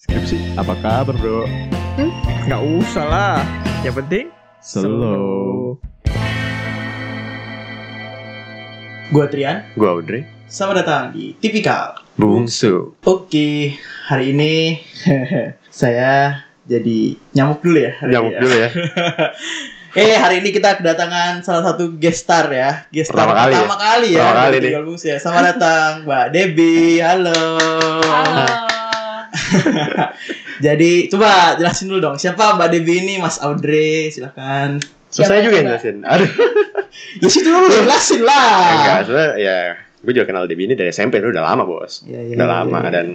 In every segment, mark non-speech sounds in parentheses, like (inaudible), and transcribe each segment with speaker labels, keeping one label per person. Speaker 1: sih? Apa kabar bro?
Speaker 2: Nggak usah lah. Yang penting
Speaker 1: Slow.
Speaker 3: Gua Trian,
Speaker 1: Gua Audrey.
Speaker 3: selamat datang di Tipikal.
Speaker 1: Bungsu.
Speaker 3: Oke, hari ini
Speaker 2: (laughs)
Speaker 3: saya jadi nyamuk dulu ya. Hari
Speaker 1: Nyamuk
Speaker 3: ini ya.
Speaker 1: dulu ya.
Speaker 3: Eh, hari ini kita kedatangan salah satu guest star ya. Guest star
Speaker 1: Pertama kali
Speaker 3: pertama kali ya.
Speaker 1: Pertama kali
Speaker 3: dari Tipikal Bungsu ya. Selamat datang Mbak Debbie. Halo.
Speaker 4: Halo.
Speaker 3: Jadi, coba jelasin dulu dong siapa Mbak Debbie ini, Mas Audrey, silakan.
Speaker 1: So, saya
Speaker 4: Siapa
Speaker 1: juga yang
Speaker 4: coba?
Speaker 1: jelasin. Aduh,
Speaker 3: Ya situ dulu jelasin
Speaker 1: enggak.
Speaker 3: lah.
Speaker 1: Sebenernya ya, gue juga kenal Debbie ini dari SMP. Itu udah lama bos.
Speaker 3: Ya, ya,
Speaker 1: Udah
Speaker 3: ya,
Speaker 1: lama.
Speaker 3: ya.
Speaker 1: Dan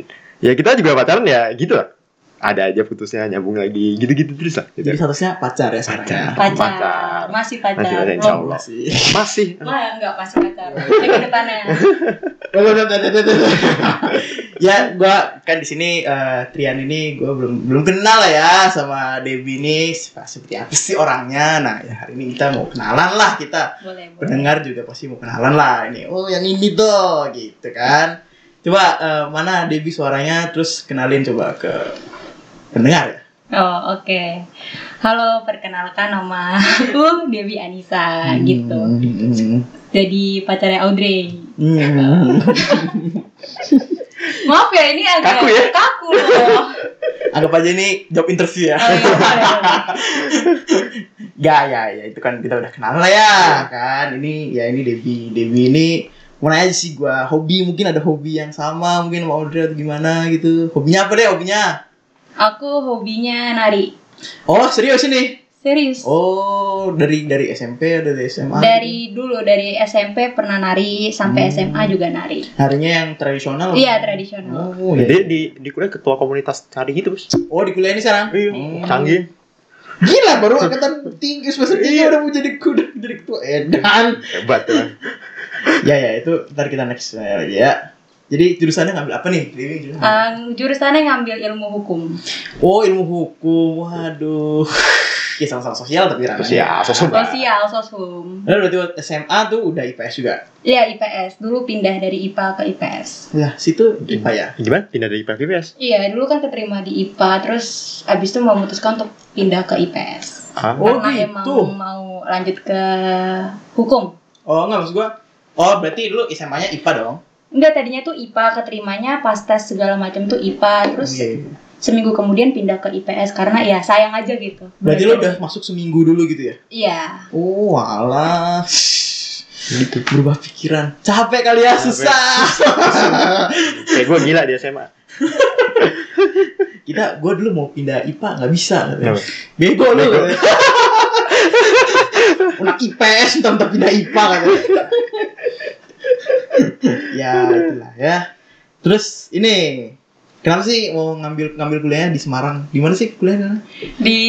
Speaker 1: ya kita juga pacaran ya gitu lah. Ada aja putusnya, nyambung lagi. Gitu-gitu terus lah.
Speaker 3: Jadi
Speaker 1: Gitu.
Speaker 3: statusnya pacar ya sekarang. ya?
Speaker 1: Pacar.
Speaker 4: Pacar. Masih pacar.
Speaker 1: Masih pacar,
Speaker 4: Belum.
Speaker 1: insya Allah.
Speaker 3: Masih.
Speaker 1: Masih.
Speaker 4: Wah, enggak masih pacar. Lagi ke
Speaker 1: (laughs)
Speaker 4: depannya.
Speaker 3: (laughs) ya gua kan di sini eh, Trian ini gua belum belum kenal lah ya sama Debi ini sep- seperti apa sih orangnya nah ya hari ini kita mau kenalan lah kita
Speaker 4: Boleh, boleh.
Speaker 3: pendengar juga pasti mau kenalan lah ini oh yang ini tuh gitu kan coba eh, mana Debi suaranya terus kenalin coba ke pendengar ya
Speaker 4: Oh, oke. Halo, perkenalkan nama aku Dewi Anissa gitu.
Speaker 3: Hmm.
Speaker 4: Jadi pacarnya Audrey.
Speaker 3: Hmm.
Speaker 4: Maaf ya, ini agak
Speaker 1: Kaku ya?
Speaker 4: kaku
Speaker 1: (laughs)
Speaker 4: loh.
Speaker 3: anggap aja ini job interview ya
Speaker 4: Oh, iya, boleh,
Speaker 3: Gak ya, ya itu kan kita udah kenal lah ya
Speaker 1: Iya.
Speaker 3: kan. Ini ya ini Debi, Debi ini mau nanya aja sih gua hobi mungkin ada hobi yang sama mungkin sama Audrey atau gimana gitu. Hobinya apa deh hobinya?
Speaker 4: Aku hobinya nari.
Speaker 3: Oh serius ini?
Speaker 4: Serius.
Speaker 3: Oh dari dari SMP atau dari SMA?
Speaker 4: Dari dulu dari SMP pernah nari sampai
Speaker 3: Hmm.
Speaker 4: SMA juga nari.
Speaker 3: Harinya yang
Speaker 1: Oh.
Speaker 3: tradisional?
Speaker 4: Iya, tradisional.
Speaker 3: Oh,
Speaker 1: Jadi
Speaker 3: iya.
Speaker 1: di, di kuliah ketua komunitas cari gitu bos.
Speaker 3: oh di kuliah ini sekarang?
Speaker 1: Iya.
Speaker 3: Hmm.
Speaker 1: Canggih. Iya.
Speaker 3: Gila baru angkatan tinggi semester tiga udah mau jadi kuda jadi ketua edan.
Speaker 1: Hebat ya.
Speaker 3: ya ya itu ntar kita next eh, ya jadi jurusannya ngambil apa nih Dewi jurusan apa?
Speaker 4: Eh, jurusannya ngambil ilmu hukum.
Speaker 3: oh ilmu hukum
Speaker 1: (laughs)
Speaker 3: waduh ya sama-sama sosial tapi ramai
Speaker 1: Sosial, sosial.
Speaker 4: Sosial, soshum.
Speaker 3: Lalu berarti waktu SMA tuh udah IPS juga
Speaker 4: Iya, IPS. Dulu pindah dari IPA ke IPS.
Speaker 3: Nah situ
Speaker 1: Iya.
Speaker 3: IPA ya
Speaker 1: Gimana? Pindah dari IPS?
Speaker 4: Iya, dulu kan keterima di IPA, terus abis itu memutuskan untuk pindah ke IPS.
Speaker 1: Ah.
Speaker 3: Oh,
Speaker 4: Karena emang
Speaker 3: gitu.
Speaker 4: mau lanjut ke hukum.
Speaker 3: oh nggak maksud gua oh berarti lu SMA nya IPA dong
Speaker 4: Enggak, tadinya tuh IPA, keterimanya pas tes segala macam tuh IPA, terus
Speaker 3: Iya, iya.
Speaker 4: seminggu kemudian pindah ke IPS karena ya sayang aja gitu.
Speaker 3: berarti lu udah masuk seminggu dulu gitu ya
Speaker 4: Iya.
Speaker 3: oh alah gitu berubah pikiran capek kali ya
Speaker 1: Capek.
Speaker 3: susah
Speaker 1: Kayak gue gila di SMA.
Speaker 3: kita gua dulu mau pindah IPA nggak bisa katanya.
Speaker 1: Kenapa?
Speaker 3: Bego lu.
Speaker 1: Bego.
Speaker 3: Anak IPS entar entar pindah IPA katanya. ya itulah ya. Terus ini kenapa sih mau ngambil ngambil kuliahnya di Semarang? Di mana sih kuliahnya?
Speaker 4: Di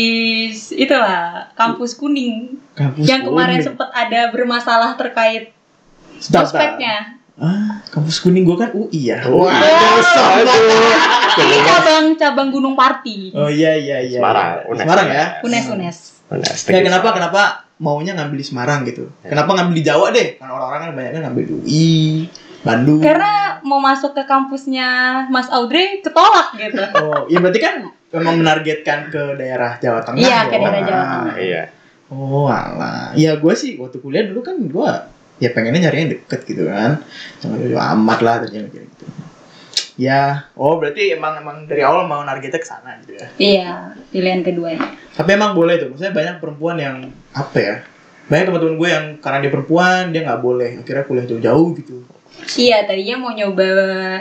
Speaker 4: s- itulah kampus kuning
Speaker 3: Kampus
Speaker 4: yang kemarin
Speaker 3: kuning.
Speaker 4: sempat ada bermasalah terkait
Speaker 3: Sebentar, sebentar.
Speaker 4: prospeknya.
Speaker 3: Ah, kampus kuning gua kan UI ya.
Speaker 1: Wah,
Speaker 4: Ini
Speaker 1: Iya.
Speaker 4: cabang cabang Gunung Parti.
Speaker 3: Oh iya iya iya.
Speaker 1: Semarang,
Speaker 3: Di
Speaker 1: Unes.
Speaker 3: Semarang ya.
Speaker 1: iya.
Speaker 4: Unes Unes.
Speaker 1: Nah,
Speaker 3: Kayak kenapa kenapa maunya ngambil di Semarang gitu? Kenapa ngambil di Jawa deh? Karena orang-orang kan banyak ngambil di UI, Bandung.
Speaker 4: Karena mau masuk ke kampusnya Mas Audrey ketolak gitu.
Speaker 3: Oh, ya berarti kan memang menargetkan ke daerah Jawa Tengah.
Speaker 4: Iya,
Speaker 3: ya?
Speaker 4: ke daerah Jawa Tengah.
Speaker 1: Iya.
Speaker 3: Oh, alah. Ya gue sih waktu kuliah dulu kan gue ya pengennya nyari yang deket gitu kan. Jangan jauh amat lah ternyata gitu. Ya, oh berarti emang emang dari awal mau nargetnya ke sana gitu ya.
Speaker 4: iya, pilihan keduanya.
Speaker 3: Tapi emang boleh tuh. Maksudnya banyak perempuan yang apa ya? Banyak teman-teman gue yang karena dia perempuan dia nggak boleh akhirnya kuliah jauh-jauh gitu.
Speaker 4: Iya, tadinya mau nyoba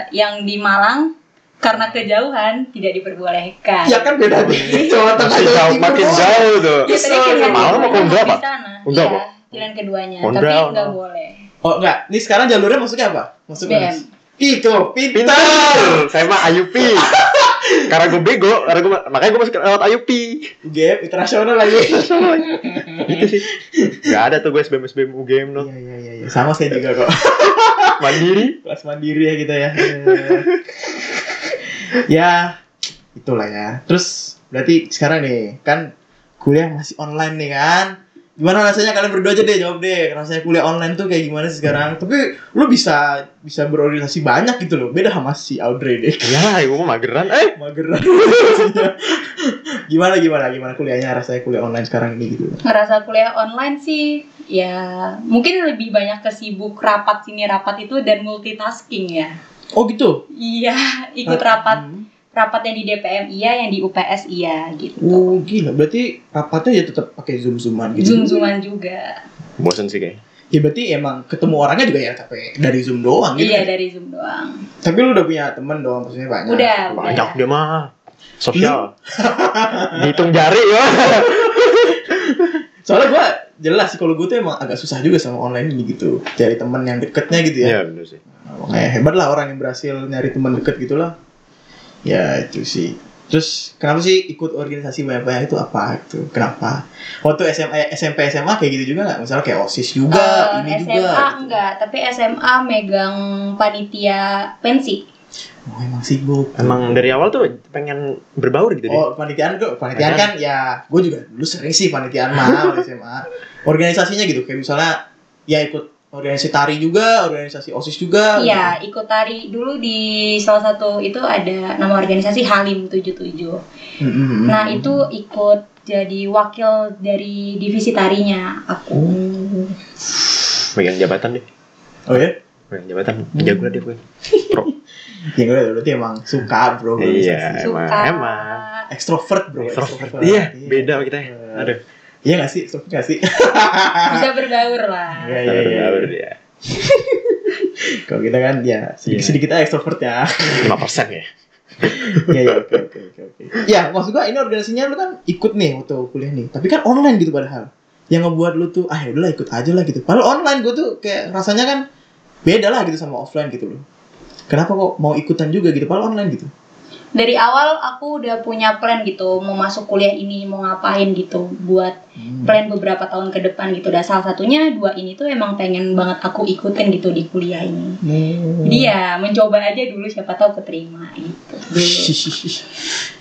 Speaker 4: yang di Malang karena kejauhan tidak diperbolehkan.
Speaker 3: Ya kan beda tinggi Jawa Tengah
Speaker 1: Makin
Speaker 3: Jawa
Speaker 1: Iya. jauh,
Speaker 3: Timur
Speaker 1: makin
Speaker 3: doang.
Speaker 1: jauh tuh.
Speaker 4: Ya, tadi pilihan
Speaker 1: Malang
Speaker 4: keduanya
Speaker 1: mau ke Undrawa?
Speaker 4: di sana.
Speaker 1: Undrawa?
Speaker 4: Iya, pilihan keduanya, tapi
Speaker 1: Undrawa.
Speaker 4: nggak boleh.
Speaker 3: Oh enggak, ini sekarang jalurnya masuknya apa? Masuknya
Speaker 4: BM.
Speaker 3: Itu pintar.
Speaker 1: Pintar. Saya mah Ayupi. (laughs) karena gue bego, karena gue makanya gue masuk lewat (laughs) Ayupi.
Speaker 3: UGM internasional lagi.
Speaker 1: Gitu sih. Gak ada tuh gue SBM SBM UGM no.
Speaker 3: Iya iya iya iya. Sama saya juga kok.
Speaker 1: Iya. Mandiri.
Speaker 3: Kelas mandiri ya kita ya. Iya, iya, iya. ya, itulah ya. Terus berarti sekarang nih kan kuliah masih online nih kan. Gimana rasanya kalian berdua aja deh jawab deh. Rasanya kuliah online tuh kayak gimana sih sekarang? Tapi lu bisa bisa berorientasi banyak gitu loh. Beda sama si Audrey deh.
Speaker 1: Iyalah, gue mah mageran. Eh,
Speaker 3: Mageran. orientasinya. (laughs) gimana gimana gimana kuliahnya rasanya kuliah online sekarang ini gitu.
Speaker 4: ngerasa kuliah online sih ya mungkin lebih banyak ke sibuk rapat sini rapat itu dan multitasking ya
Speaker 3: Oh gitu.
Speaker 4: iya ikut rapat
Speaker 3: Hmm.
Speaker 4: rapat yang di DPM iya yang di UPS iya gitu
Speaker 3: Oh gila, berarti rapatnya ya tetap pakai zoom zooman gitu.
Speaker 4: zoom zooman juga
Speaker 1: bosen sih kayaknya.
Speaker 3: Ya berarti emang ketemu orangnya juga ya tapi dari zoom doang gitu.
Speaker 4: iya dari zoom doang
Speaker 3: Tapi lu udah punya temen dong maksudnya banyak.
Speaker 1: Iya.
Speaker 4: udah
Speaker 1: Banyak
Speaker 4: udah.
Speaker 1: dia mah. Sosial. (laughs) Dihitung jari ya.
Speaker 3: Soalnya gua jelas sih kalau gue tuh emang agak susah juga sama online ini gitu. Cari temen yang deketnya gitu ya.
Speaker 1: Iya, bener sih.
Speaker 3: Makanya hebat lah orang yang berhasil nyari teman deket gitu lah. Ya itu sih. Terus kenapa sih ikut organisasi banyak-banyak itu apa itu? Kenapa? Waktu SMA, SMP SMA kayak gitu juga nggak? Misalnya kayak osis juga,
Speaker 4: Eh,
Speaker 3: ini
Speaker 4: SMA
Speaker 3: juga. gitu.
Speaker 4: enggak tapi SMA megang panitia pensi
Speaker 3: Oh emang sibuk.
Speaker 1: Emang dari awal tuh pengen berbaur gitu deh.
Speaker 3: Oh, panitiaan tuh, panitiaan kan ya, gue juga dulu sering sih panitiaan
Speaker 1: (laughs)
Speaker 3: mah waktu SMA. Organisasinya gitu, kayak misalnya ya ikut organisasi tari juga, organisasi OSIS juga. gitu.
Speaker 4: Iya, ikut tari dulu di salah satu itu ada nama organisasi Halim 77.
Speaker 3: gitu. Mm, mm, mm.
Speaker 4: Nah, itu ikut jadi wakil dari divisi tarinya aku.
Speaker 1: Pegang jabatan deh.
Speaker 3: Oh ya?
Speaker 1: Pegang jabatan. Jago lah dia gue.
Speaker 3: Ya gue berarti emang suka bro
Speaker 1: Iya,
Speaker 3: organisasi.
Speaker 1: emang.
Speaker 4: Suka.
Speaker 1: Emang.
Speaker 3: Ekstrovert bro, ekstrovert.
Speaker 1: Iya, beda sama kita. ya. Aduh,
Speaker 3: Iya gak sih? Ekstrovert gak sih?
Speaker 4: Bisa berbaur lah.
Speaker 3: Iya, iya,
Speaker 1: kita
Speaker 3: iya.
Speaker 1: berbaur dia.
Speaker 3: Kalau kita kan ya sedikit-sedikit aja ekstrovert ya.
Speaker 1: 5% ya.
Speaker 3: Iya, iya, oke, oke, oke, oke. Ya, maksud gua ini organisasinya lu kan ikut nih waktu kuliah nih, tapi kan online gitu padahal. Yang ngebuat lu tuh, ah udahlah ikut aja lah gitu. Padahal online gua tuh kayak rasanya kan beda lah gitu sama offline gitu loh. Kenapa kok mau ikutan juga gitu, padahal online gitu?
Speaker 4: Dari awal aku udah punya plan gitu, mau masuk kuliah ini, mau ngapain gitu. Buat
Speaker 3: Hmm.
Speaker 4: plan beberapa tahun ke depan gitu. Dan salah satunya dua ini tuh emang pengen banget aku ikutin gitu di kuliah ini.
Speaker 3: Hmm.
Speaker 4: Jadi ya mencoba aja dulu siapa tahu keterima gitu. Dulu.
Speaker 3: (laughs)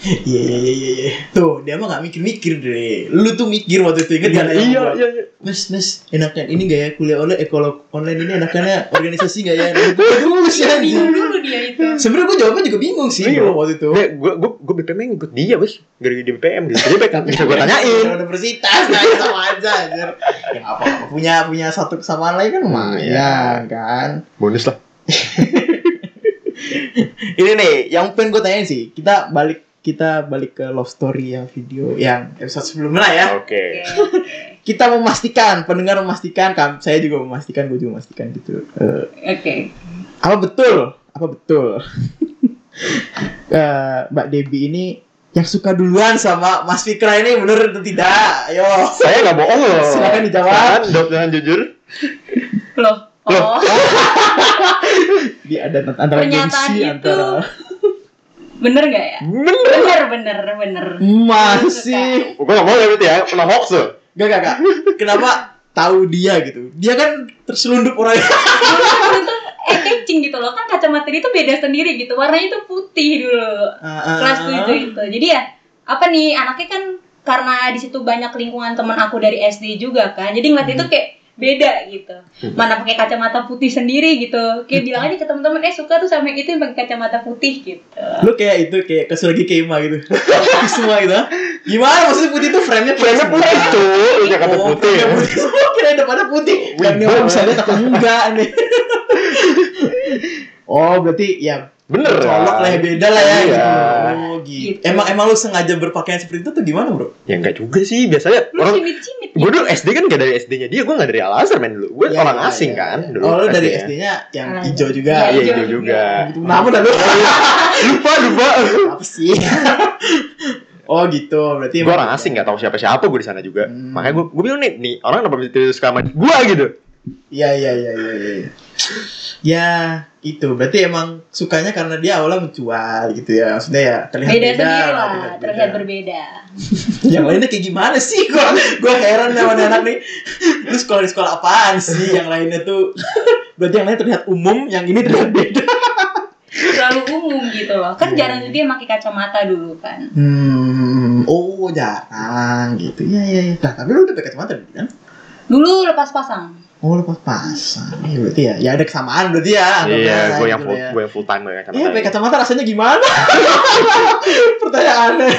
Speaker 3: Iya, iya, iya, iya, iya. Tuh, dia mah gak mikir-mikir deh. Lu tuh mikir waktu itu, inget gak? ada yang
Speaker 1: Iya,
Speaker 3: ngobrol?
Speaker 1: iya, iya.
Speaker 3: Mas, mas, enakan ini gak ya kuliah online? Eh, kalau online ini enakannya organisasi
Speaker 1: (laughs)
Speaker 3: gak ya? Gue nulis ya.
Speaker 4: Bingung dulu dia
Speaker 3: (laughs)
Speaker 4: itu.
Speaker 3: Sebenernya gue jawabnya juga bingung sih
Speaker 1: Bingung.
Speaker 3: bro, waktu itu.
Speaker 1: Gue gue gue gue BPM yang ikut dia, Bos. Gara-gara dia BPM gitu. Jadi baik bisa gue tanyain.
Speaker 3: Dari universitas nah itu sama aja anjir. Ya apa punya punya satu kesamaan lain kan
Speaker 1: Hmm, iya,
Speaker 3: lumayan kan.
Speaker 1: Bonus lah.
Speaker 3: Ini nih yang pengen gue tanyain sih. Kita balik kita balik ke love story yang video yang episode sebelumnya lah ya.
Speaker 1: Oke.
Speaker 3: Kita memastikan, pendengar memastikan, kam- saya juga memastikan, gue juga memastikan gitu. Eh,
Speaker 4: Oke.
Speaker 3: apa betul? Apa betul? (laughs) Eh, Mbak Debi ini yang suka duluan sama Mas Fikra ini bener atau tidak? Ayo.
Speaker 1: Saya nggak bohong loh.
Speaker 3: Silakan dijawab.
Speaker 1: Silakan, jawab dengan jujur.
Speaker 4: Loh. Oh,
Speaker 3: Di ada antara
Speaker 4: Pernyataan
Speaker 3: gengsi
Speaker 4: itu-
Speaker 3: antara
Speaker 4: bener nggak ya?
Speaker 1: Bener.
Speaker 4: Bener, bener, bener.
Speaker 3: masih
Speaker 1: Gue nggak bohong ya berarti ya. Pernah hoax loh.
Speaker 3: Gak, gak, gak. Kenapa tahu dia gitu? Dia kan terselundup
Speaker 4: (laughs)
Speaker 3: orangnya.
Speaker 4: Eh, catching gitu loh. Kan kacamata dia itu beda sendiri gitu. Warnanya itu putih dulu. Kelas 7 itu. Jadi ya, apa nih, anaknya kan karena di situ banyak lingkungan teman aku dari SD juga kan. Jadi ngeliat
Speaker 3: Hmm.
Speaker 4: itu kayak beda gitu. Mana pakai kacamata putih sendiri gitu.
Speaker 3: Hmm.
Speaker 4: Kayak bilang aja ke teman-teman, "Eh, suka tuh sama yang itu yang pakai kacamata putih." gitu.
Speaker 3: Lu kayak itu kayak kesurgi kema gitu. (laughs) Putih semua gitu. Gimana maksudnya putih itu frame-nya
Speaker 1: Kayaknya putih itu. Udah Iya, kata
Speaker 3: Oh,
Speaker 1: putih. ya.
Speaker 3: frame-nya putih semua kira depannya putih. Kan
Speaker 1: Wih,
Speaker 3: Dan yang
Speaker 1: bang.
Speaker 3: bisa lihat atau enggak
Speaker 1: (laughs)
Speaker 3: nih. Oh, berarti ya
Speaker 1: Bener.
Speaker 3: colok lah ya, beda lah ya
Speaker 1: Iya.
Speaker 3: gitu. Oh, gitu.
Speaker 4: Gitu.
Speaker 3: Emang emang lu sengaja berpakaian seperti itu tuh gimana, Bro?
Speaker 1: Ya enggak juga sih. Biasanya
Speaker 4: Lu
Speaker 1: orang
Speaker 4: cimit-cimit gitu.
Speaker 1: gue dulu SD kan gak dari SD-nya dia, gue gak dari Al Azhar men dulu. Gue
Speaker 3: Ya,
Speaker 1: orang
Speaker 3: ya,
Speaker 1: asing
Speaker 3: ya,
Speaker 1: kan
Speaker 3: ya.
Speaker 1: dulu.
Speaker 3: Oh, lu dari
Speaker 1: SD-nya.
Speaker 3: SD-nya yang
Speaker 4: Ah,
Speaker 3: hijau
Speaker 4: iya,
Speaker 3: juga.
Speaker 1: Iya
Speaker 4: Hijau
Speaker 1: itu juga.
Speaker 3: Gitu, Iya, Nama dah lu.
Speaker 1: Lupa lupa.
Speaker 3: apa
Speaker 1: (laughs)
Speaker 3: sih? oh gitu, berarti
Speaker 1: gue orang asing gak tahu siapa siapa gue di sana juga.
Speaker 3: Hmm.
Speaker 1: Makanya gue gue bilang nih nih orang kenapa bisa tidur suka sama gue gitu.
Speaker 3: Iya iya iya iya. iya. Ya itu berarti emang sukanya karena dia awalnya mencuat gitu ya maksudnya ya terlihat
Speaker 4: Beda
Speaker 3: beda,
Speaker 4: sendiri lah,
Speaker 3: terlihat
Speaker 4: terlihat
Speaker 3: beda.
Speaker 4: berbeda.
Speaker 3: yang lainnya kayak gimana sih gua gua heran sama anak nih lu sekolah di sekolah apaan sih yang lainnya tuh berarti yang lain terlihat umum yang ini terlihat beda
Speaker 4: Terlalu umum gitu loh. Kan
Speaker 3: Iya.
Speaker 4: jarang dia pakai kacamata dulu
Speaker 3: Iya,
Speaker 4: kan.
Speaker 3: hmm oh jarang gitu ya ya ya nah, tapi lu udah pakai kacamata kan
Speaker 4: Dulu lepas pasang.
Speaker 3: Oh lepas pasang, ya, berarti ya, ya ada kesamaan berarti ya. anggapnya,
Speaker 1: Iya, gue yang
Speaker 3: gitu
Speaker 1: full,
Speaker 3: ya.
Speaker 1: gue yang full timer kacamata.
Speaker 3: Iya, pakai kacamata rasanya gimana? (laughs) Pertanyaan aneh.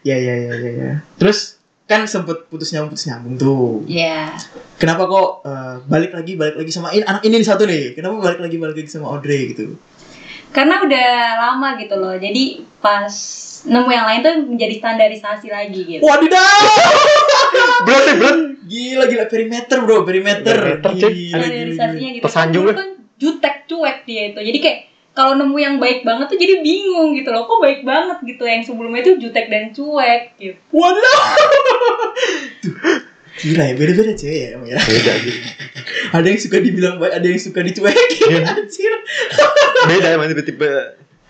Speaker 3: Ya ya ya ya ya. Terus kan sempet putus nyambung putus nyambung tuh.
Speaker 4: Iya.
Speaker 3: Kenapa kok eh, balik lagi balik lagi sama ini anak ini nih satu nih? Kenapa balik lagi balik lagi sama Audrey gitu?
Speaker 4: Karena udah lama gitu loh. Jadi pas nemu yang lain tuh menjadi standarisasi lagi gitu.
Speaker 3: Wadidaw!
Speaker 1: Berat ya, berat.
Speaker 3: Gila gila perimeter bro perimeter.
Speaker 1: Perimeter, cuy.
Speaker 3: Gila, gila, gila.
Speaker 4: Standarisasinya gitu.
Speaker 1: Tersanjung ya?
Speaker 4: Kan dulu kan jutek cuek dia itu. Jadi kayak kalau nemu yang baik banget tuh jadi bingung gitu loh. Kok baik banget gitu yang sebelumnya tuh jutek dan cuek gitu.
Speaker 3: Wadidaw! Tuh. Gila ya beda beda cewek ya emang ya.
Speaker 1: Beda, gitu.
Speaker 3: Ada yang suka dibilang baik, ada yang suka dicuekin.
Speaker 1: Iya.
Speaker 3: Anjir.
Speaker 1: beda emang tipe-tipe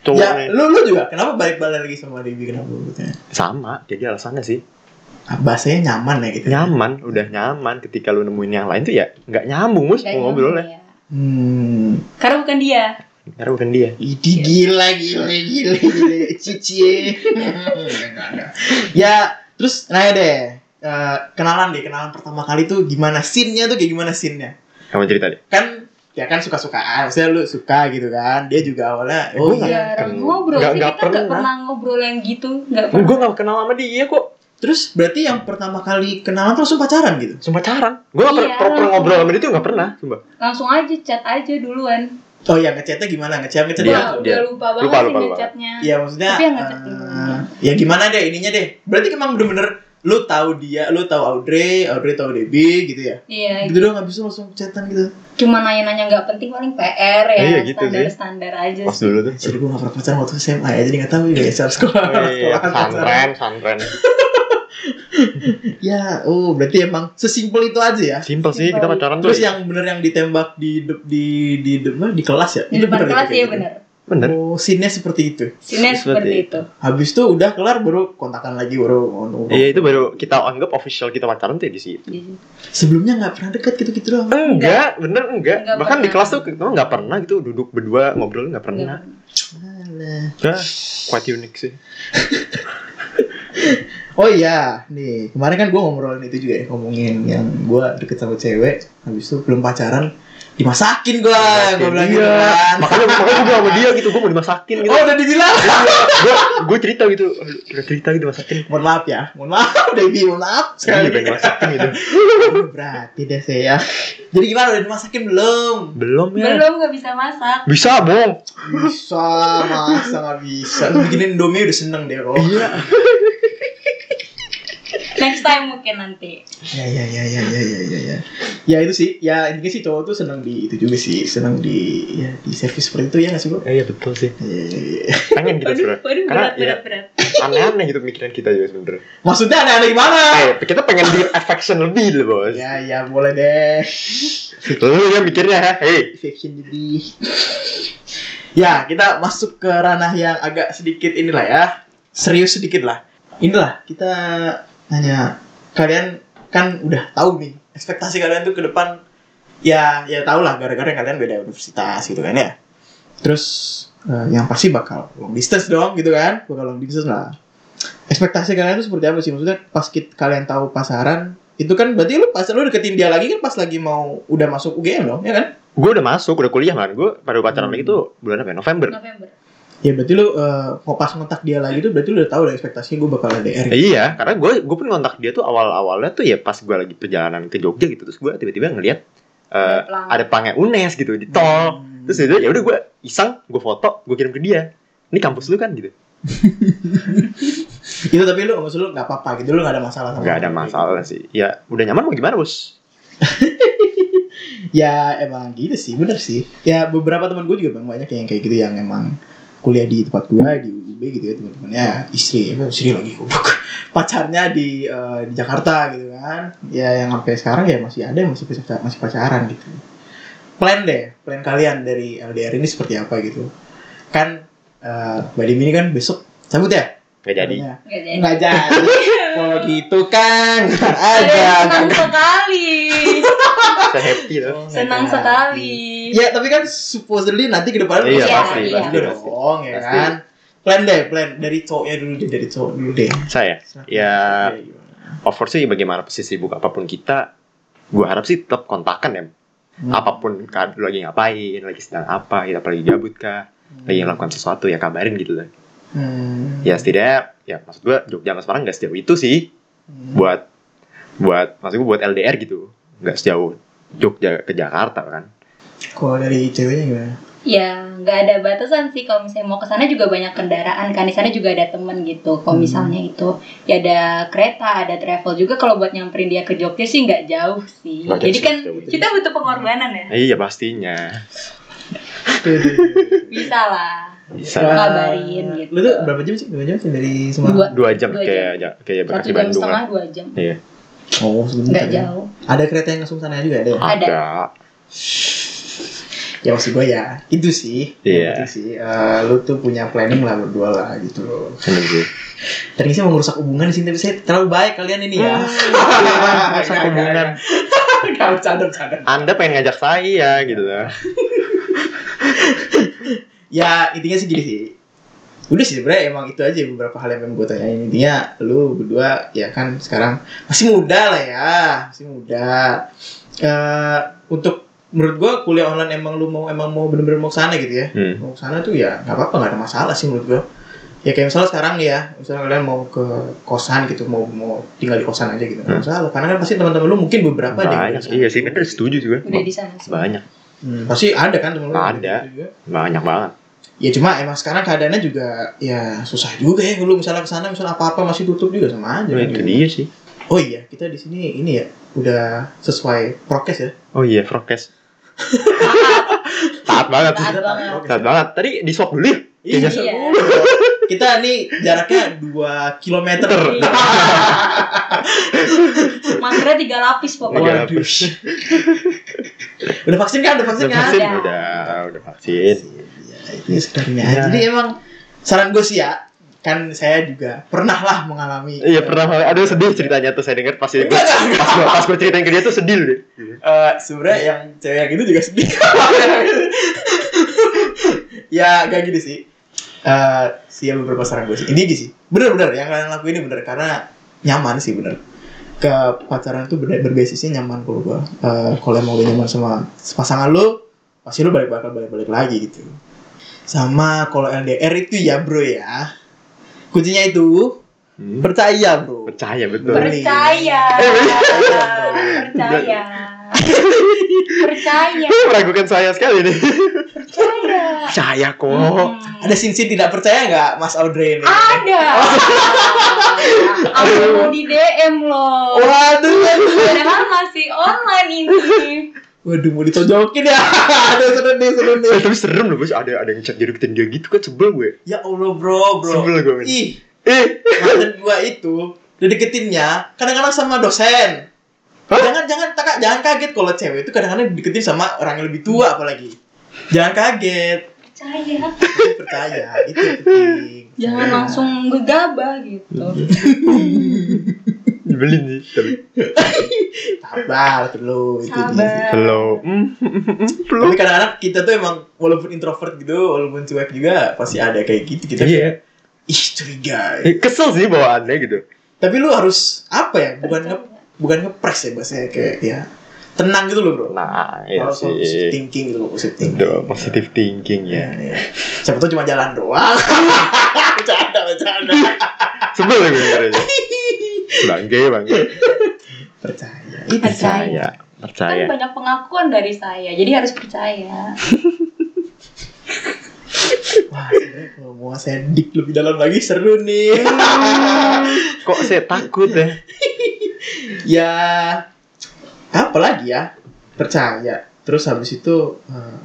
Speaker 3: Ya,
Speaker 1: cowoknya.
Speaker 3: lu lu juga kenapa balik-balik lagi sama Dewi kenapa gitu?
Speaker 1: Sama, jadi alasannya sih.
Speaker 3: Ah, bahasanya nyaman ya gitu.
Speaker 1: Nyaman, udah nyaman. Ketika lu nemuin yang lain tuh ya nggak nyambung, mus.
Speaker 4: Kayak
Speaker 1: Mau ngobrol ya.
Speaker 4: nyaman ya.
Speaker 3: Hmm.
Speaker 4: Karena bukan dia.
Speaker 1: Karena bukan dia.
Speaker 3: Idi gila gila gila gila cici. ya, terus nanya deh. eh, kenalan deh, kenalan pertama kali tuh gimana scene-nya tuh kayak gimana scene-nya?
Speaker 1: Kamu cerita deh.
Speaker 3: Kan ya kan suka-sukaan, maksudnya lu suka gitu kan. Dia juga awalnya
Speaker 1: Oh, iya. ketemu.
Speaker 4: Jarang ngobrol
Speaker 1: Nggak-
Speaker 4: sih.
Speaker 1: nggak
Speaker 4: kita nggak
Speaker 1: pernah.
Speaker 4: pernah ngobrol yang gitu. Nggak pernah.
Speaker 1: Gue gak kenal sama dia kok.
Speaker 3: Terus berarti yang pertama kali kenalan tuh langsung pacaran gitu.
Speaker 1: Sumpah pacaran. Gue gak pernah
Speaker 4: Iya.
Speaker 1: proper ngobrol sama dia tuh gak pernah. Sumpah.
Speaker 4: Langsung aja chat aja duluan.
Speaker 3: Oh ya ngechatnya gimana? Ngechat ngechat
Speaker 1: Dia-
Speaker 4: Wah,
Speaker 3: apa?
Speaker 4: udah
Speaker 1: dia-
Speaker 4: lupa banget
Speaker 1: lupa,
Speaker 4: sih
Speaker 1: lupa, lupa.
Speaker 4: ngechatnya.
Speaker 3: Iya maksudnya
Speaker 4: Tapi yang ngechat
Speaker 3: eh,
Speaker 4: dulu.
Speaker 3: Ya gimana deh ininya deh Berarti emang bener-bener Lu tahu dia Lu tahu Audrey Audrey tahu Debbie gitu ya
Speaker 4: Iya,
Speaker 3: Gitu doang habis itu langsung chatan gitu
Speaker 4: cuma nanya-nanya nggak penting paling PR ya,
Speaker 1: Iya, gitu sih.
Speaker 4: standar-standar aja
Speaker 1: Pas
Speaker 4: sih.
Speaker 1: dulu tuh.
Speaker 3: Jadi gue gak pernah pacaran waktu SMA ya Jadi gak tau ya Seharus sekolah
Speaker 1: Iya,
Speaker 3: sekolah, kan pacaran.
Speaker 1: santren, santren.
Speaker 3: Ya oh berarti emang Sesimpel itu aja ya
Speaker 1: Simple sih kita pacaran tuh.
Speaker 3: Terus yang bener yang ditembak di de- di di, di, apa, di kelas ya
Speaker 4: Di
Speaker 1: Iya,
Speaker 4: depan
Speaker 3: bener
Speaker 4: kelas
Speaker 3: kayak
Speaker 4: ya
Speaker 3: gitu?
Speaker 4: bener.
Speaker 1: bener.
Speaker 3: Oh scene-nya seperti itu
Speaker 4: Sini
Speaker 1: Seperti
Speaker 4: seperti itu.
Speaker 3: Habis itu udah kelar baru kontakan lagi baru ngono.
Speaker 1: Iya itu baru kita anggap official kita pacaran tuh di situ.
Speaker 3: Sebelumnya gak pernah deket gitu-gitu doang
Speaker 1: Enggak, bener enggak.
Speaker 4: Enggak
Speaker 1: Bahkan di
Speaker 4: pernah.
Speaker 1: kelas tuh kita nggak pernah gitu duduk berdua ngobrol nggak
Speaker 4: Nggak
Speaker 1: pernah.
Speaker 4: pernah.
Speaker 3: Alah.
Speaker 1: Nah, quite unik sih.
Speaker 3: Oh iya, nih kemarin kan gue ngobrolin itu juga ya, ngomongin yang gue deket sama cewek, habis itu belum pacaran, dimasakin gue, gue bilang gitu
Speaker 1: Iya.
Speaker 3: kan. (laughs)
Speaker 1: Makanya makanya gue bilang sama dia gitu, gue mau dimasakin gitu.
Speaker 3: Oh udah dibilang.
Speaker 1: gue gue cerita gitu, aduh, udah cerita gitu masakin.
Speaker 3: mohon maaf ya, mohon maaf, (laughs) Devi, mohon maaf
Speaker 1: Sekali
Speaker 3: sekali.
Speaker 1: pengen dimasakin gitu.
Speaker 3: Aduh, (laughs) Berarti deh saya. ya. Jadi gimana udah dimasakin belum?
Speaker 1: Belum ya.
Speaker 4: Belum nggak bisa masak.
Speaker 1: Bisa, bohong.
Speaker 3: Bisa, masa nggak bisa. Lu bikinin Indomie udah seneng deh kok. Iya.
Speaker 4: Next time mungkin nanti.
Speaker 3: Ya ya ya ya ya ya ya ya. Ya itu sih, ya intinya sih cowok tuh seneng di itu juga sih, seneng di ya di servis seperti itu ya nggak sih bro?
Speaker 1: Iya betul sih.
Speaker 3: Iya iya iya.
Speaker 1: Pengen kita
Speaker 4: Waduh,
Speaker 1: sebenarnya.
Speaker 4: waduh
Speaker 1: Karena
Speaker 4: berat,
Speaker 1: ya,
Speaker 4: berat, berat. (laughs)
Speaker 1: aneh-aneh gitu pikiran kita juga sebenarnya.
Speaker 3: Maksudnya aneh-aneh gimana?
Speaker 1: Eh, kita pengen bikin affection lebih loh bos.
Speaker 3: Ya ya boleh deh.
Speaker 1: Lu yang mikirnya, ha? hei.
Speaker 3: Fiction jadi. ya kita masuk ke ranah yang agak sedikit inilah ya. Serius sedikit lah. Inilah kita nanya kalian kan udah tahu nih ekspektasi kalian tuh ke depan ya ya tau lah gara-gara kalian beda universitas gitu kan ya. Terus eh, yang pasti bakal long distance dong gitu kan bakal long distance lah. Ekspektasi kalian tuh seperti apa sih maksudnya pas kit- kalian tahu pasaran itu kan berarti lu pas lu deketin dia lagi kan pas lagi mau udah masuk UGM dong ya kan?
Speaker 1: Gue udah masuk, udah kuliah kan. Gue pada pacaran lagi tuh bulan apa? ya? November.
Speaker 4: November.
Speaker 3: Ya berarti lu uh, mau pas ngontak dia lagi tuh berarti lu udah tahu udah ekspektasinya gue bakal LDR.
Speaker 1: Ya, Iya, karena gue gue pun kontak dia tuh awal-awalnya tuh ya pas gue lagi perjalanan ke Jogja gitu terus gue tiba-tiba ngelihat eh,
Speaker 4: Pelang.
Speaker 1: ada pangai UNES gitu di tol.
Speaker 3: Hmm.
Speaker 1: Terus itu ya udah gue iseng, gue foto, gue kirim ke dia. Ini kampus lu kan gitu.
Speaker 3: itu Gitu, tapi lu maksud lu nggak apa-apa gitu lu nggak ada masalah sama
Speaker 1: Gak ada
Speaker 3: dia.
Speaker 1: masalah sih. Ya udah nyaman mau gimana bos?
Speaker 3: Ya emang gitu sih bener sih. Ya beberapa teman gue juga banyak yang kayak gitu yang emang kuliah di tempat gue di UB gitu ya teman-temannya istri ya istri lagi goblok (laughs) pacarnya di, eh, di Jakarta gitu kan ya yang sampai sekarang ya masih ada yang masih pacar- masih pacaran gitu plan deh plan kalian dari LDR ini seperti apa gitu kan eh Mbak Dimi ini kan besok cabut ya
Speaker 1: Gak jadi.
Speaker 3: Katanya.
Speaker 4: Nggak jadi.
Speaker 3: nggak jadi (laughs) kalau gitu kan ntar
Speaker 4: Ada
Speaker 3: aja
Speaker 4: yang senang sekali.
Speaker 1: Saya happy loh.
Speaker 3: Oh, nggak
Speaker 4: Senang
Speaker 3: jadi.
Speaker 4: sekali.
Speaker 3: Ya, tapi kan supposedly nanti ke depan
Speaker 1: Iya,
Speaker 4: pasti,
Speaker 3: ada
Speaker 4: pasti,
Speaker 1: pasti.
Speaker 3: dong, ya
Speaker 1: Pasti.
Speaker 3: kan? Plan deh, plan dari cowoknya dulu deh, dari cowok dulu deh.
Speaker 1: Saya
Speaker 3: Silakan.
Speaker 1: Ya.
Speaker 3: Oke, gimana?
Speaker 1: over sih bagaimana sih sibuk apapun kita gue harap sih tetap kontakan ya
Speaker 3: Hmm.
Speaker 1: apapun kan lu lagi ngapain lagi sedang apa gitu apalagi gabut kah lagi melakukan sesuatu ya kabarin gitu loh
Speaker 3: Hmm.
Speaker 1: ya setidaknya ya maksud gue Jogja sama Semarang nggak sejauh itu sih
Speaker 3: Hmm.
Speaker 1: buat buat maksud gue buat LDR gitu nggak sejauh Jogja ke Jakarta kan
Speaker 3: Kalau dari ceweknya gimana?
Speaker 4: Ya, nggak ada batasan sih kalau misalnya mau ke sana juga banyak kendaraan kan di sana juga ada temen gitu.
Speaker 3: Hmm.
Speaker 4: Kalau misalnya itu ya ada kereta, ada travel juga kalau buat nyamperin dia ke Jogja sih nggak jauh sih.
Speaker 1: Nggak
Speaker 4: Jadi
Speaker 1: jauh sih,
Speaker 4: kan
Speaker 1: jauh betul.
Speaker 4: kita butuh pengorbanan ya.
Speaker 1: iya pastinya
Speaker 4: Bisa lah.
Speaker 1: bisa
Speaker 4: Kabarin gitu.
Speaker 3: Lu tuh berapa jam sih? Dua jam sih dari Semarang?
Speaker 4: Dua.
Speaker 1: dua jam
Speaker 4: Dua
Speaker 1: kayak ja- kayak
Speaker 4: Satu
Speaker 1: Bekasi
Speaker 4: jam
Speaker 1: Bandung
Speaker 4: setengah
Speaker 1: lah Iya.
Speaker 4: dua jam.
Speaker 3: Oh, sebentar.
Speaker 4: Nggak
Speaker 3: ya.
Speaker 4: jauh.
Speaker 3: Ada kereta yang langsung sana juga ada. ya?
Speaker 4: Ada.
Speaker 1: ada
Speaker 3: Ya maksud gue ya, itu sih.
Speaker 1: Iya.
Speaker 3: Itu sih. Eh, lu tuh punya planning lah berdua lah gitu loh.
Speaker 1: Bener sih.
Speaker 3: Tadi saya mau merusak hubungan di sini tapi saya terlalu baik kalian ini (laughs) ya.
Speaker 1: Merusak hubungan.
Speaker 3: Kalau bercanda bercanda.
Speaker 1: Anda pengen ngajak saya gitu loh.
Speaker 3: Ya intinya sih gini sih. Udah sih sebenernya emang itu aja beberapa hal yang pengen gue tanyain Intinya lu berdua ya kan sekarang masih muda lah ya Masih muda Eh Untuk menurut gue kuliah online emang lu mau emang mau bener-bener mau kesana gitu ya
Speaker 1: Hmm.
Speaker 3: mau ke sana tuh ya nggak apa-apa nggak ada masalah sih menurut gua ya kayak misalnya sekarang nih ya misalnya kalian mau ke kosan gitu mau mau tinggal di kosan aja gitu nggak
Speaker 1: Hmm.
Speaker 3: masalah karena kan pasti teman-teman lu mungkin beberapa ada yang
Speaker 1: Banyak.
Speaker 3: udah
Speaker 1: Iya
Speaker 3: kesana.
Speaker 1: sih bener setuju juga.
Speaker 4: Udah di sana. semua.
Speaker 1: Banyak.
Speaker 3: Hmm, pasti ada kan teman lu yang
Speaker 1: Ada.
Speaker 3: gitu juga.
Speaker 1: Banyak banget.
Speaker 3: ya cuma emang sekarang keadaannya juga ya susah juga ya lu misalnya ke sana misalnya apa-apa masih tutup juga sama aja
Speaker 1: Nah,
Speaker 3: kan
Speaker 1: itu
Speaker 3: gitu.
Speaker 1: dia sih.
Speaker 3: oh iya kita di sini ini ya udah sesuai prokes ya
Speaker 1: Oh iya,
Speaker 4: (laughs)
Speaker 1: prokes. Taat banget.
Speaker 4: Taat banget.
Speaker 1: Taat banget. Tadi di swap dulu ya.
Speaker 3: Iya.
Speaker 1: Iya.
Speaker 3: kita nih jaraknya 2 kilometer
Speaker 4: Iya. (laughs) Maskernya tiga lapis pokoknya.
Speaker 1: Tiga.
Speaker 3: Waduh. udah vaksin kan? Udah vaksin
Speaker 1: Udah
Speaker 3: kan?
Speaker 1: vaksin
Speaker 4: Ada.
Speaker 1: udah, udah vaksin.
Speaker 3: Ya, itu sebenarnya.
Speaker 1: Ya.
Speaker 3: Jadi emang saran gue sih ya, kan saya juga pernah lah mengalami. eh,
Speaker 1: Iya pernah. Aduh sedih ceritanya tuh saya denger pas gue
Speaker 3: Enggak, enggak,
Speaker 1: pas gue pas gue ceritain ke dia tuh sedih deh.
Speaker 3: Eh, sebenarnya yang cewek yang itu juga sedih. (laughs) ya gak gini sih. Eh, sih ya beberapa saran gue sih. Ini gini sih. Bener-bener yang kalian lakuin ini bener karena nyaman sih bener. Ke pacaran tuh bener berbasisnya nyaman kalau gue. Eh, kalau emang udah nyaman sama pasangan lo, pasti lo balik bakal balik-balik lagi gitu. Sama kalau LDR itu ya bro ya. Kuncinya itu
Speaker 1: Hmm.
Speaker 3: percaya bro.
Speaker 1: Percaya betul.
Speaker 3: Ber-
Speaker 4: Percaya. Percaya. Percaya.
Speaker 1: Ih, Meragukan saya sekali nih.
Speaker 4: Percaya.
Speaker 1: Percaya kok.
Speaker 4: Hmm.
Speaker 3: Ada sin tidak percaya nggak Mas Audrey ini?
Speaker 4: Ada. Ada yang mau di DM
Speaker 1: Oh.
Speaker 4: loh.
Speaker 3: Waduh.
Speaker 4: Padahal masih online ini.
Speaker 3: Waduh mau ditonjokin ya (laughs) Aduh seru nih seru nih
Speaker 1: Eh, tapi serem loh bos. Ada ada yang chat jodohin dia gitu kan sebel gue.
Speaker 3: Ya Allah bro bro
Speaker 1: Sebel gue. men.
Speaker 3: Ih
Speaker 1: Eh,
Speaker 3: mantan gua itu Dideketinnya kadang-kadang sama dosen
Speaker 1: Hah?
Speaker 3: Jangan jangan tak, jangan kaget kalau cewek itu kadang-kadang dideketin sama orang yang lebih tua apalagi Jangan kaget
Speaker 4: Percaya.
Speaker 3: Tapi percaya itu yang penting Nah,
Speaker 4: Jangan
Speaker 3: Percaya.
Speaker 4: langsung gegabah gitu.
Speaker 1: Nyebelin sih tapi.
Speaker 3: Sabar dulu itu dia.
Speaker 4: Sabar.
Speaker 1: Hello Hmm, hmm, hmm, hmm, Hello
Speaker 3: Tapi kadang-kadang kita tuh emang walaupun introvert gitu, walaupun cuek juga pasti ada kayak gitu kita
Speaker 1: Iya
Speaker 3: ih curiga.
Speaker 1: Eh, Kesel sih bawaannya gitu
Speaker 3: Tapi lu harus apa ya? Bukan nge bukan ngepres ya bahasanya kayak ya tenang gitu loh bro
Speaker 1: Nah iya
Speaker 3: harus positive
Speaker 1: sih
Speaker 3: thinking gitu loh positive thinking
Speaker 1: Udah positive thinking
Speaker 3: ya,
Speaker 1: ya
Speaker 3: ya. siapa tuh cuma jalan
Speaker 1: (laughs)
Speaker 3: doang bercanda bercanda
Speaker 1: Iya. Sebel ya gue dengernya Bangke bangke
Speaker 3: percaya
Speaker 1: iya.
Speaker 3: itu
Speaker 4: Percaya.
Speaker 1: Percaya
Speaker 4: Kan banyak pengakuan dari saya, jadi harus percaya.
Speaker 3: wah sebenarnya kalau mau saya dik lebih dalam lagi seru nih
Speaker 1: (laughs) Kok saya takut ya
Speaker 3: ya apa lagi ya percaya terus habis itu eh,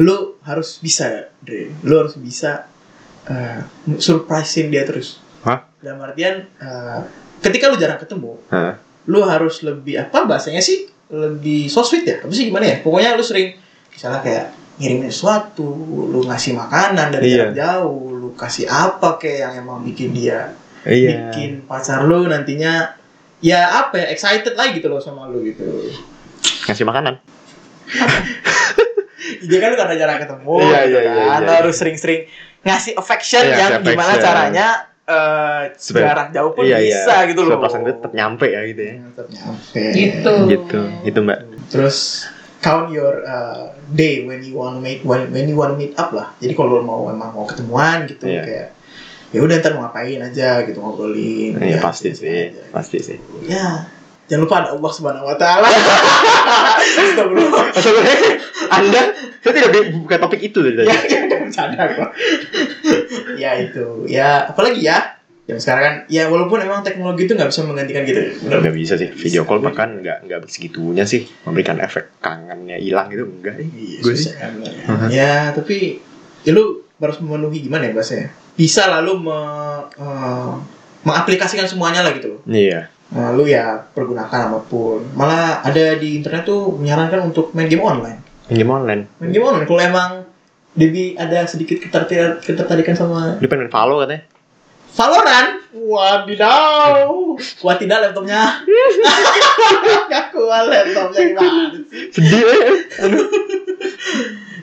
Speaker 3: lu harus bisa Dre lu harus bisa eh, surprisein dia terus
Speaker 1: Hah?
Speaker 3: dalam artian eh, ketika lu jarang ketemu
Speaker 1: Hah?
Speaker 3: lu harus lebih apa bahasanya sih lebih so sweet ya apa sih gimana ya pokoknya lu sering misalnya kayak ngirimin sesuatu lu ngasih makanan dari
Speaker 1: Iya.
Speaker 3: jarak jauh lu kasih apa kayak yang emang bikin dia
Speaker 1: Iya
Speaker 3: bikin pacar lu nantinya ya apa ya excited lagi gitu loh sama lu gitu
Speaker 1: Kasih makanan
Speaker 3: dia kan lu karena jarang ketemu
Speaker 1: Iya,
Speaker 3: gitu
Speaker 1: iya, iya,
Speaker 3: kan
Speaker 1: iya,
Speaker 3: lu
Speaker 1: iya.
Speaker 3: harus sering-sering ngasih affection
Speaker 1: Iya,
Speaker 3: yang
Speaker 1: ngasih
Speaker 3: gimana
Speaker 1: affection.
Speaker 3: caranya eh eh,
Speaker 1: Supaya-
Speaker 3: jarak jauh pun
Speaker 1: Iya, iya.
Speaker 3: bisa gitu loh. Iya,
Speaker 1: Supaya perasaan gue tetap nyampe ya gitu ya.
Speaker 3: Tetap nyampe.
Speaker 4: gitu
Speaker 1: Gitu, itu Mbak.
Speaker 3: Terus count your uh, day when you want to meet when, when you want to meet up lah. Jadi kalau lo mau emang mau ketemuan gitu
Speaker 1: Iya.
Speaker 3: kayak ya udah ntar mau ngapain aja gitu ngobrolin.
Speaker 1: Iya
Speaker 3: Ya,
Speaker 1: pasti
Speaker 3: gitu
Speaker 1: sih,
Speaker 3: aja.
Speaker 1: pasti sih.
Speaker 3: Ya. Jangan lupa ada Allah Subhanahu wa taala. (laughs) Astagfirullah. (laughs)
Speaker 1: Sebenarnya Anda saya tidak bi- buka topik itu dari tadi.
Speaker 3: ya, ya udah bercanda gua. (laughs) ya itu. Ya, apalagi ya. Yang sekarang kan ya walaupun emang teknologi itu nggak bisa menggantikan gitu. Bener.
Speaker 1: Nggak bisa sih video
Speaker 3: Bisa,
Speaker 1: call
Speaker 3: gue-
Speaker 1: bahkan nggak nggak segitunya sih memberikan efek kangennya hilang gitu enggak eh.
Speaker 3: Iya,
Speaker 1: Gue
Speaker 3: susah kan.
Speaker 1: Mhm.
Speaker 3: Ya, tapi ya lu harus memenuhi gimana ya bahasanya? Bisa lalu me, eh, mengaplikasikan semuanya lah gitu loh.
Speaker 1: Iya.
Speaker 3: Nah, lu ya pergunakan apapun. Malah ada di internet tuh menyarankan untuk main game online.
Speaker 1: Game online.
Speaker 3: Main game online kalau emang Debi ada sedikit ketertarikan, ketertarikan sama
Speaker 1: Dia pengen main Valo katanya.
Speaker 3: Valorant. Wadidaw. Wadidaw laptopnya. (laughs) Gak kuat laptopnya gimana sih?
Speaker 1: Sedih. eh.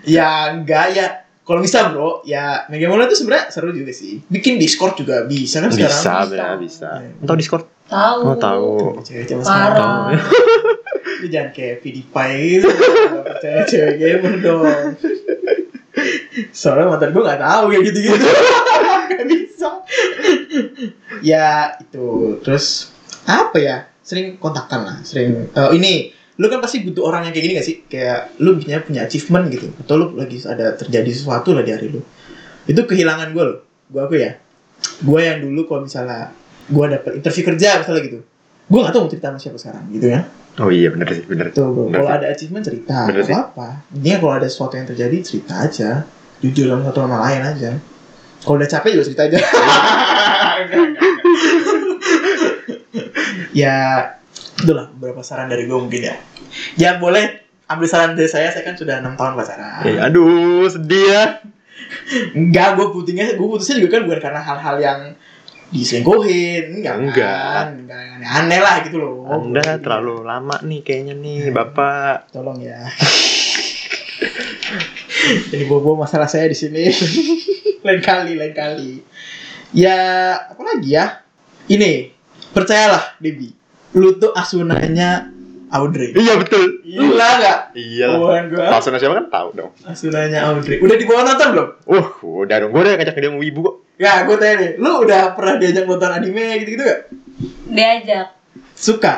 Speaker 3: Ya enggak ya. Kalau bisa bro, ya main game online tuh sebenarnya seru juga sih. Bikin Discord juga bisa kan sekarang. Iya.
Speaker 1: Bisa, bisa, bisa. Tahu Discord?
Speaker 4: tahu
Speaker 1: Oh, tahu.
Speaker 3: Tuh, Cewek cewek sekarang.
Speaker 4: parah
Speaker 3: Lu jangan kayak PewDiePie gitu. Nggak percaya cewek gamer dong. Soalnya mantan gue gak tahu kayak gitu-gitu. gak bisa. ya itu. Terus apa ya? Sering kontakkan lah. Sering. eh, ini lu kan pasti butuh orang yang kayak gini gak sih? Kayak lu punya punya achievement gitu. Atau lu lagi ada terjadi sesuatu lah di hari lu. Itu kehilangan gue loh. Gue aku ya. Gue yang dulu kalau misalnya gue dapet interview kerja misalnya gitu. Gue gak tau mau cerita sama siapa sekarang gitu ya.
Speaker 1: Oh iya benar sih, benar.
Speaker 3: Betul bro.
Speaker 1: Bener
Speaker 3: Kalau
Speaker 1: sih.
Speaker 3: ada achievement cerita,
Speaker 1: Bener sih.
Speaker 3: nggak apa. Ini kalau ada sesuatu yang terjadi cerita aja, jujur sama satu sama lain aja. Kalau udah capek juga cerita aja.
Speaker 1: (laughs)
Speaker 3: ya, itulah beberapa saran dari gue mungkin ya. Ya boleh ambil saran dari saya, saya kan sudah enam tahun pacaran.
Speaker 1: Eh, aduh, sedih ya.
Speaker 3: Enggak, gue putusnya, gue putusnya juga kan bukan karena hal-hal yang diselingkuhin, enggak,
Speaker 1: Enggak.
Speaker 3: kan. enggak yang aneh-aneh lah gitu loh.
Speaker 1: Anda terlalu lama nih kayaknya nih, Bapak.
Speaker 3: tolong ya (laughs) jadi bobo masalah saya di sini (laughs) lain kali lain kali ya apa lagi ya ini percayalah Debi lu tuh asunanya Audrey
Speaker 1: Iya betul.
Speaker 3: gila nggak
Speaker 1: Iya.
Speaker 3: Bohongan gua
Speaker 1: Palsu nasional kan tahu dong.
Speaker 3: asunanya Audrey udah dibawa nonton belum
Speaker 1: Uh, udah dong. Gue udah ngajak dia mau ibu kok.
Speaker 3: ya gue tanya nih lu udah pernah diajak nonton anime gitu gitu gak
Speaker 4: diajak
Speaker 3: suka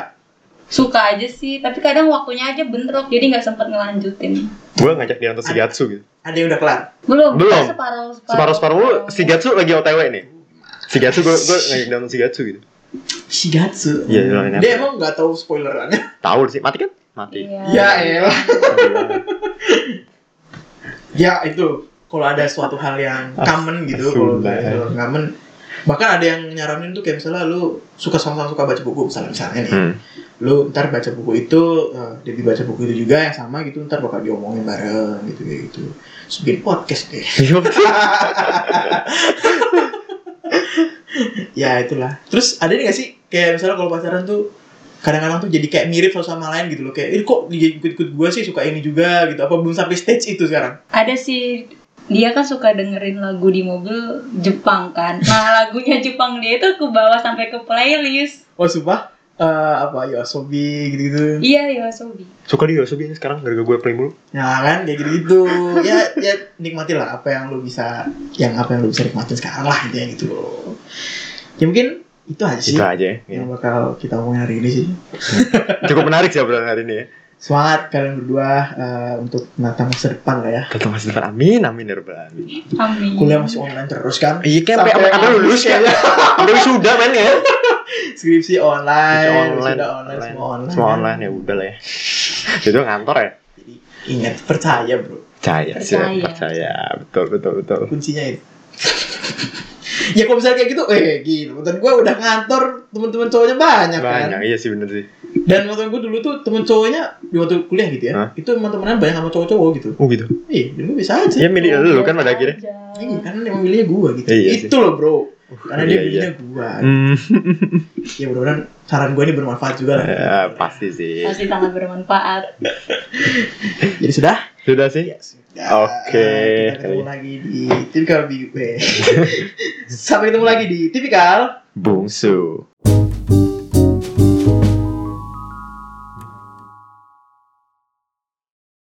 Speaker 4: suka aja sih tapi kadang waktunya aja bentrok jadi nggak sempet ngelanjutin
Speaker 1: Gue ngajak dia nonton Shigatsu gitu.
Speaker 3: ada yang udah kelar
Speaker 4: belum
Speaker 1: Belum.
Speaker 4: separuh
Speaker 1: Separuh separuh lu Shigatsu lagi OTW nih. Shigatsu gue gue ngajak dia nonton Shigatsu gitu.
Speaker 3: Shigatsu
Speaker 1: Iya, iya, iya.
Speaker 3: dia emang nggak tahu spoilerannya
Speaker 1: Tahu sih, mati kan? Mati.
Speaker 4: iya
Speaker 3: ya elah Ya itu kalau ada suatu hal yang common gitu kalau
Speaker 1: Sudah.
Speaker 3: ada hal yang common bahkan ada yang nyaranin tuh kayak misalnya lu suka sama-sama suka baca buku misalnya misalnya nih
Speaker 1: Hmm.
Speaker 3: lu ntar baca buku itu eh, Debbie baca buku itu juga yang sama gitu ntar bakal diomongin bareng gitu kayak gitu Terus bikin podcast deh (laughs)
Speaker 1: Iya.
Speaker 3: ya itulah terus ada nih gak sih kayak misalnya kalau pacaran tuh kadang-kadang tuh jadi kayak mirip satu sama lain gitu loh kayak ini kok dia ikut-ikut gue sih suka ini juga gitu apa belum sampai stage itu sekarang
Speaker 4: ada sih dia kan suka dengerin lagu di mobil Jepang kan nah (laughs) lagunya Jepang dia itu ke bawah sampai ke playlist
Speaker 3: oh sumpah Eh, apa Yoasobi gitu-gitu
Speaker 4: iya Yoasobi
Speaker 1: Suka dia Yosobi ini sekarang gara-gara gue playing mulu.
Speaker 3: Nah kan kayak gitu-gitu ya ya nikmati lah apa yang lu bisa yang apa yang lu bisa nikmatin sekarang lah gitu ya gitu loh. Ya mungkin itu aja sih
Speaker 1: Itu aja ya.
Speaker 3: yang bakal kita omongin hari ini sih.
Speaker 1: Cukup menarik sih obrolan hari ini ya.
Speaker 3: Semangat kalian berdua eh, untuk menata masa depan lah ya.
Speaker 1: Tetap masih depan. Amin, amin, ya Rabbal Alamin.
Speaker 4: Amin
Speaker 3: Kuliah masih online terus kan.
Speaker 1: Iya kayak
Speaker 3: Sampai
Speaker 1: sampai sampai lulus
Speaker 3: ya.
Speaker 1: kayaknya. Sampai sudah men ya.
Speaker 3: Skripsi online,
Speaker 1: Online,
Speaker 3: sudah online, semua online.
Speaker 1: Semua online ya udah lah ya. Itu ngantor ya.
Speaker 3: Jadi ingat percaya bro,
Speaker 1: Percaya, sih
Speaker 4: Percaya.
Speaker 1: percaya. Betul, betul, betul.
Speaker 3: kuncinya itu. (laughs) ya kalau misalnya kayak gitu, eh gila, mantan gue udah ngantor teman-teman cowoknya banyak, kan.
Speaker 1: Banyak, iya sih bener sih.
Speaker 3: Dan mantan gue dulu tuh temen cowoknya di waktu kuliah gitu ya.
Speaker 1: Hah?
Speaker 3: Itu emang temenan banyak sama cowok-cowok gitu.
Speaker 1: Oh gitu.
Speaker 3: Iya, dulu bisa aja.
Speaker 1: Ya milih lu kan pada akhirnya.
Speaker 3: Iya, karena emang milihnya gue gitu.
Speaker 1: Iya sih.
Speaker 3: itu loh bro. Karena
Speaker 1: iya,
Speaker 3: dia milihnya
Speaker 1: iya.
Speaker 3: gue.
Speaker 1: Hmm, (laughs)
Speaker 3: Ya mudah-mudahan saran gue ini bermanfaat juga lah.
Speaker 1: ya, pasti sih.
Speaker 4: pasti sangat bermanfaat
Speaker 3: Jadi sudah.
Speaker 1: Sudah sih?
Speaker 3: Ya sudah.
Speaker 1: Iya, Oke.
Speaker 3: Kita ketemu lagi di (laughs) Tipikal BW. Sampai ketemu lagi di Tipikal.
Speaker 1: Bungsu.